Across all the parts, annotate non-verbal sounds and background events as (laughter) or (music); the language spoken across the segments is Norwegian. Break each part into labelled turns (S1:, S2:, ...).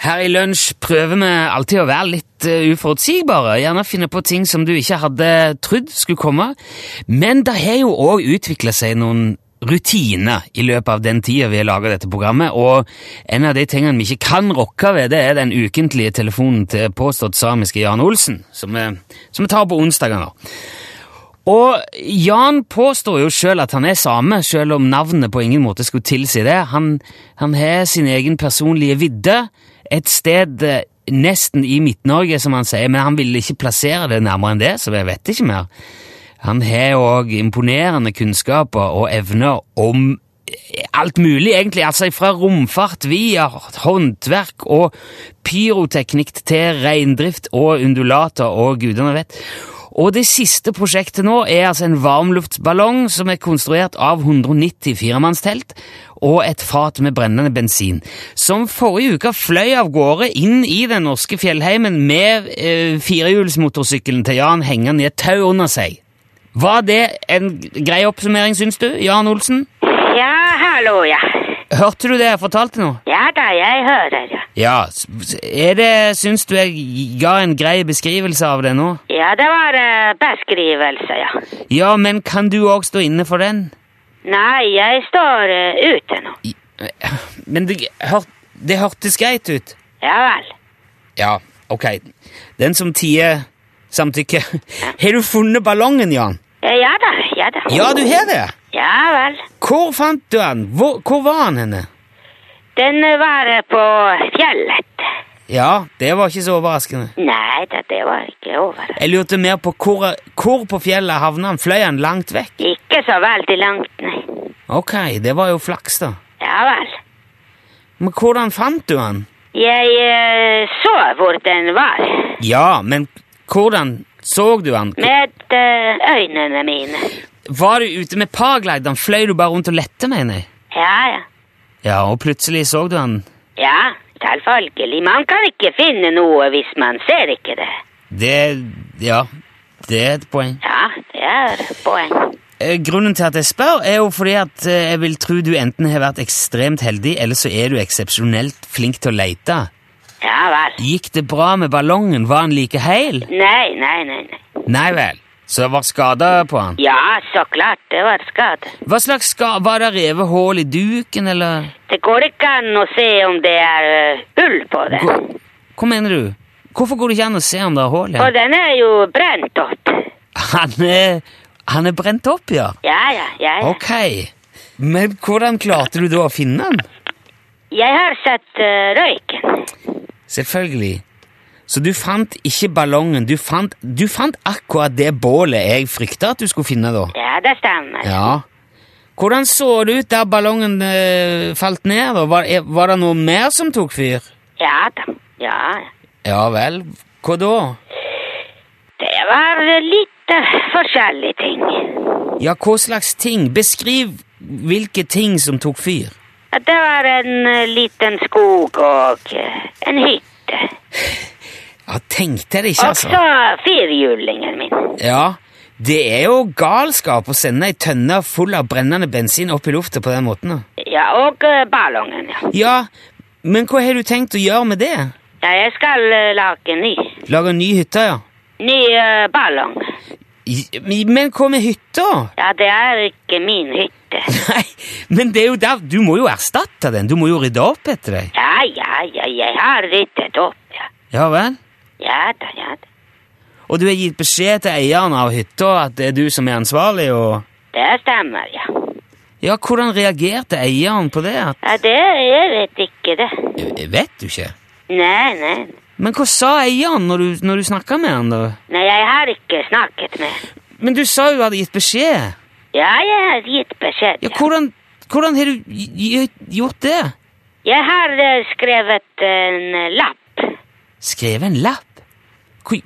S1: Her i Lunsj prøver vi alltid å være litt eh, uforutsigbare. Gjerne finne på ting som du ikke hadde trodd skulle komme. Men det har jo òg utvikla seg noen rutiner i løpet av den tida vi har laga dette programmet, og en av de tingene vi ikke kan rokke ved, det er den ukentlige telefonen til påstått samiske Jan Olsen, som vi, som vi tar på onsdager nå. Og Jan påstår jo sjøl at han er same, sjøl om navnet på ingen måte skulle tilsi det. Han, han har sin egen personlige vidde, et sted eh, nesten i Midt-Norge, som han sier, men han vil ikke plassere det nærmere enn det, så jeg vet ikke mer. Han har òg imponerende kunnskaper og evner om eh, alt mulig, egentlig. Altså fra romfart via håndverk og pyroteknikk til reindrift og undulater og gudene vet. Og det siste prosjektet nå er altså en varmluftsballong som er konstruert av 190 firemannstelt og et fat med brennende bensin, som forrige uke fløy av gårde inn i den norske fjellheimen med eh, firehjulsmotorsykkelen til Jan hengende i et tau under seg. Var det en grei oppsummering, syns du, Jan Olsen?
S2: Ja, hallo, ja.
S1: Hørte du det jeg fortalte nå?
S2: Ja da, jeg hører, ja.
S1: Ja. s- s- Er det, syns du jeg ga en grei beskrivelse av det nå?
S2: Ja, det var eh, beskrivelse, ja.
S1: Ja, men kan du òg stå inne for den?
S2: Nei, jeg står eh, ute nå.
S1: Men det, hør, det hørtes greit ut.
S2: Ja vel.
S1: Ja, ok. Den som tier samtykke. (laughs) Har du funnet ballongen, Jan?
S2: Ja, Eh, ja da, ja da.
S1: Ja, du har det!
S2: Ja vel.
S1: Hvor fant du den? Hvor, hvor var han henne?
S2: Den eh, var eh, på fjellet.
S1: Ja, det var ikke så overraskende.
S2: Nei da, det var ikke over.
S1: Jeg lurte mer på hvor, hvor på fjellet havna han. Fløy han langt vekk?
S2: Ikke så veldig langt, nei.
S1: Ok, det var jo flaks, da.
S2: Ja vel.
S1: Men hvordan fant du han?
S2: Jeg eh, så hvor den var.
S1: Ja, men hvordan så du han?
S2: Med eh, øynene mine.
S1: Var du ute med paraglideren? Fløy du bare rundt og lette, mener jeg?
S2: Ja, ja.
S1: Ja, og plutselig så du han.
S2: Ja, selvfølgelig. Man kan ikke finne noe hvis man ser ikke det.
S1: Det Ja, det er et poeng.
S2: Ja, det er poeng.
S1: Eh, Grunnen til at jeg spør, er jo fordi at eh, jeg vil tro du enten har vært ekstremt heldig, eller så er du eksepsjonelt flink til å leite.
S2: Ja vel.
S1: Gikk det bra med ballongen? Var han like heil?
S2: Nei, nei, nei. nei.
S1: Nei vel. Så det var skader på han?
S2: Ja, så klart det var skade.
S1: Hva slags skade? Var det revet hull i duken, eller
S2: Det går ikke an å se om det er eh, hull på den.
S1: Hva, hva mener du? Hvorfor går det ikke an å se om det er hull i
S2: Og
S1: han?
S2: den er jo brent opp.
S1: Han er, han er brent opp, ja.
S2: Ja, ja, ja. ja.
S1: Ok. Men hvordan klarte du da å finne han?
S2: Jeg har sett eh, røyken.
S1: Selvfølgelig. Så du fant ikke ballongen, du fant, du fant akkurat det bålet jeg frykta at du skulle finne da?
S2: Ja, det stemmer.
S1: Ja. Hvordan så det ut der ballongen eh, falt ned? da? Var, er- var det noe mer som tok fyr?
S2: Ja da. Ja, ja.
S1: Ja vel, hva da?
S2: Det var eh, litt eh, forskjellige ting.
S1: Ja, hva slags ting? Beskriv hvilke ting som tok fyr.
S2: At Det var en eh, liten skog og eh, en hytte.
S1: Ja, tenkte jeg det ikke,
S2: Og
S1: altså.
S2: så firhjulingen min.
S1: Ja, det er jo galskap å sende ei tønne full av brennende bensin opp i lufta på den måten. da.
S2: Ja, og eh, ballongen, ja.
S1: Ja, men hva har du tenkt å gjøre med det?
S2: Ja, jeg skal eh, lage ny.
S1: Lage en ny hytte, ja.
S2: Ny eh, ballong.
S1: I- Men hva med hytta? (laughs)
S2: Ja, det er ikke min hytte.
S1: Nei, men det er jo der, du må jo erstatte den. Du må jo rydde opp etter deg.
S2: Ja, ja, ja, jeg har ryddet opp, ja.
S1: Ja vel?
S2: Ja da, ja da.
S1: Og du har gitt beskjed til eieren av hytta at det er du som er ansvarlig, og
S2: Det stemmer, ja.
S1: Ja, hvordan reagerte eieren på det? At-
S2: Ja, det, jeg vet ikke det.
S1: Jeg Vet du ikke?
S2: Nei, nei.
S1: Men hva sa eieren når du, når du snakka med han, da?
S2: Nei, jeg har ikke snakket med.
S1: Men du sa jo du hadde gitt beskjed.
S2: Ja, jeg har gitt beskjed,
S1: Ja,
S2: ja.
S1: hvordan, hvordan har du gj- gj- gjort det?
S2: Jeg har eh, skrevet en eh, lapp.
S1: Skrevet en lapp? Hva,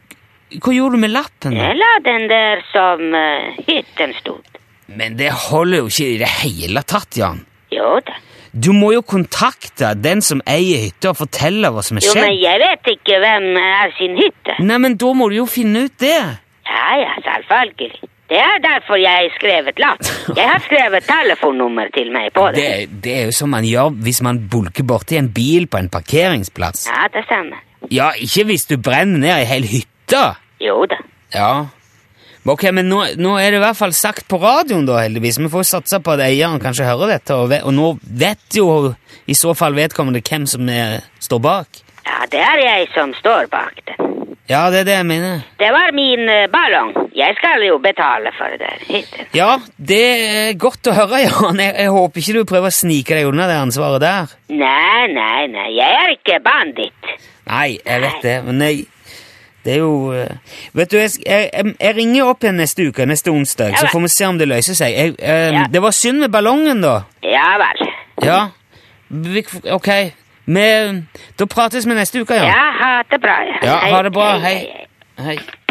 S1: hva gjorde du med lappen? da?
S2: Jeg la den der som eh, hytten stod.
S1: Men det holder jo ikke i det hele tatt, Jan.
S2: Jo da.
S1: Du må jo kontakte den som eier hytta og fortelle hva som er
S2: Jo, men
S1: skjedd.
S2: jeg vet ikke hvem er sin hytte.
S1: Nei, men da må du jo finne ut det.
S2: Ja, ja, selvfølgelig. Det er derfor jeg har skrevet (laughs) lapp. Jeg har skrevet telefonnummer til meg på
S1: Det,
S2: det.
S1: er- det er jo som man gjør hvis man bulker borti en bil på en parkeringsplass.
S2: Ja, det stemmer.
S1: Ja, ikke hvis du brenner ned ei hel hytte!
S2: Jo da.
S1: Ja. Men Ok, men nå, nå er det i hvert fall sagt på radioen, da, heldigvis. Vi får satse på at eieren kanskje hører dette, og, ve og nå vet jo i så fall vedkommende hvem som er, står bak.
S2: Ja, det er jeg som står bak det.
S1: Ja, det er det jeg mener.
S2: Det var min eh, ballong. Jeg skal jo betale for det. Hittil.
S1: Ja, det er godt å høre, (laughs) Jan. Jeg, jeg håper ikke du prøver å snike deg unna det ansvaret der.
S2: Nei, nei, nei. Jeg er ikke banditt.
S1: Nei, jeg vet det, men jeg det er jo eh, Vet du, jeg, sk- jeg, jeg- jeg ringer opp igjen neste uke, neste onsdag,
S2: Ja
S1: så
S2: vel.
S1: får vi se om det løser seg. Jeg, eh,
S2: Ja.
S1: Det var synd med ballongen, da.
S2: Ja vel.
S1: Ja. Vi- Ok. Men da prates vi neste uke, ja.
S2: Ja, ha det bra.
S1: Ja, ha det bra. Hei. Hei.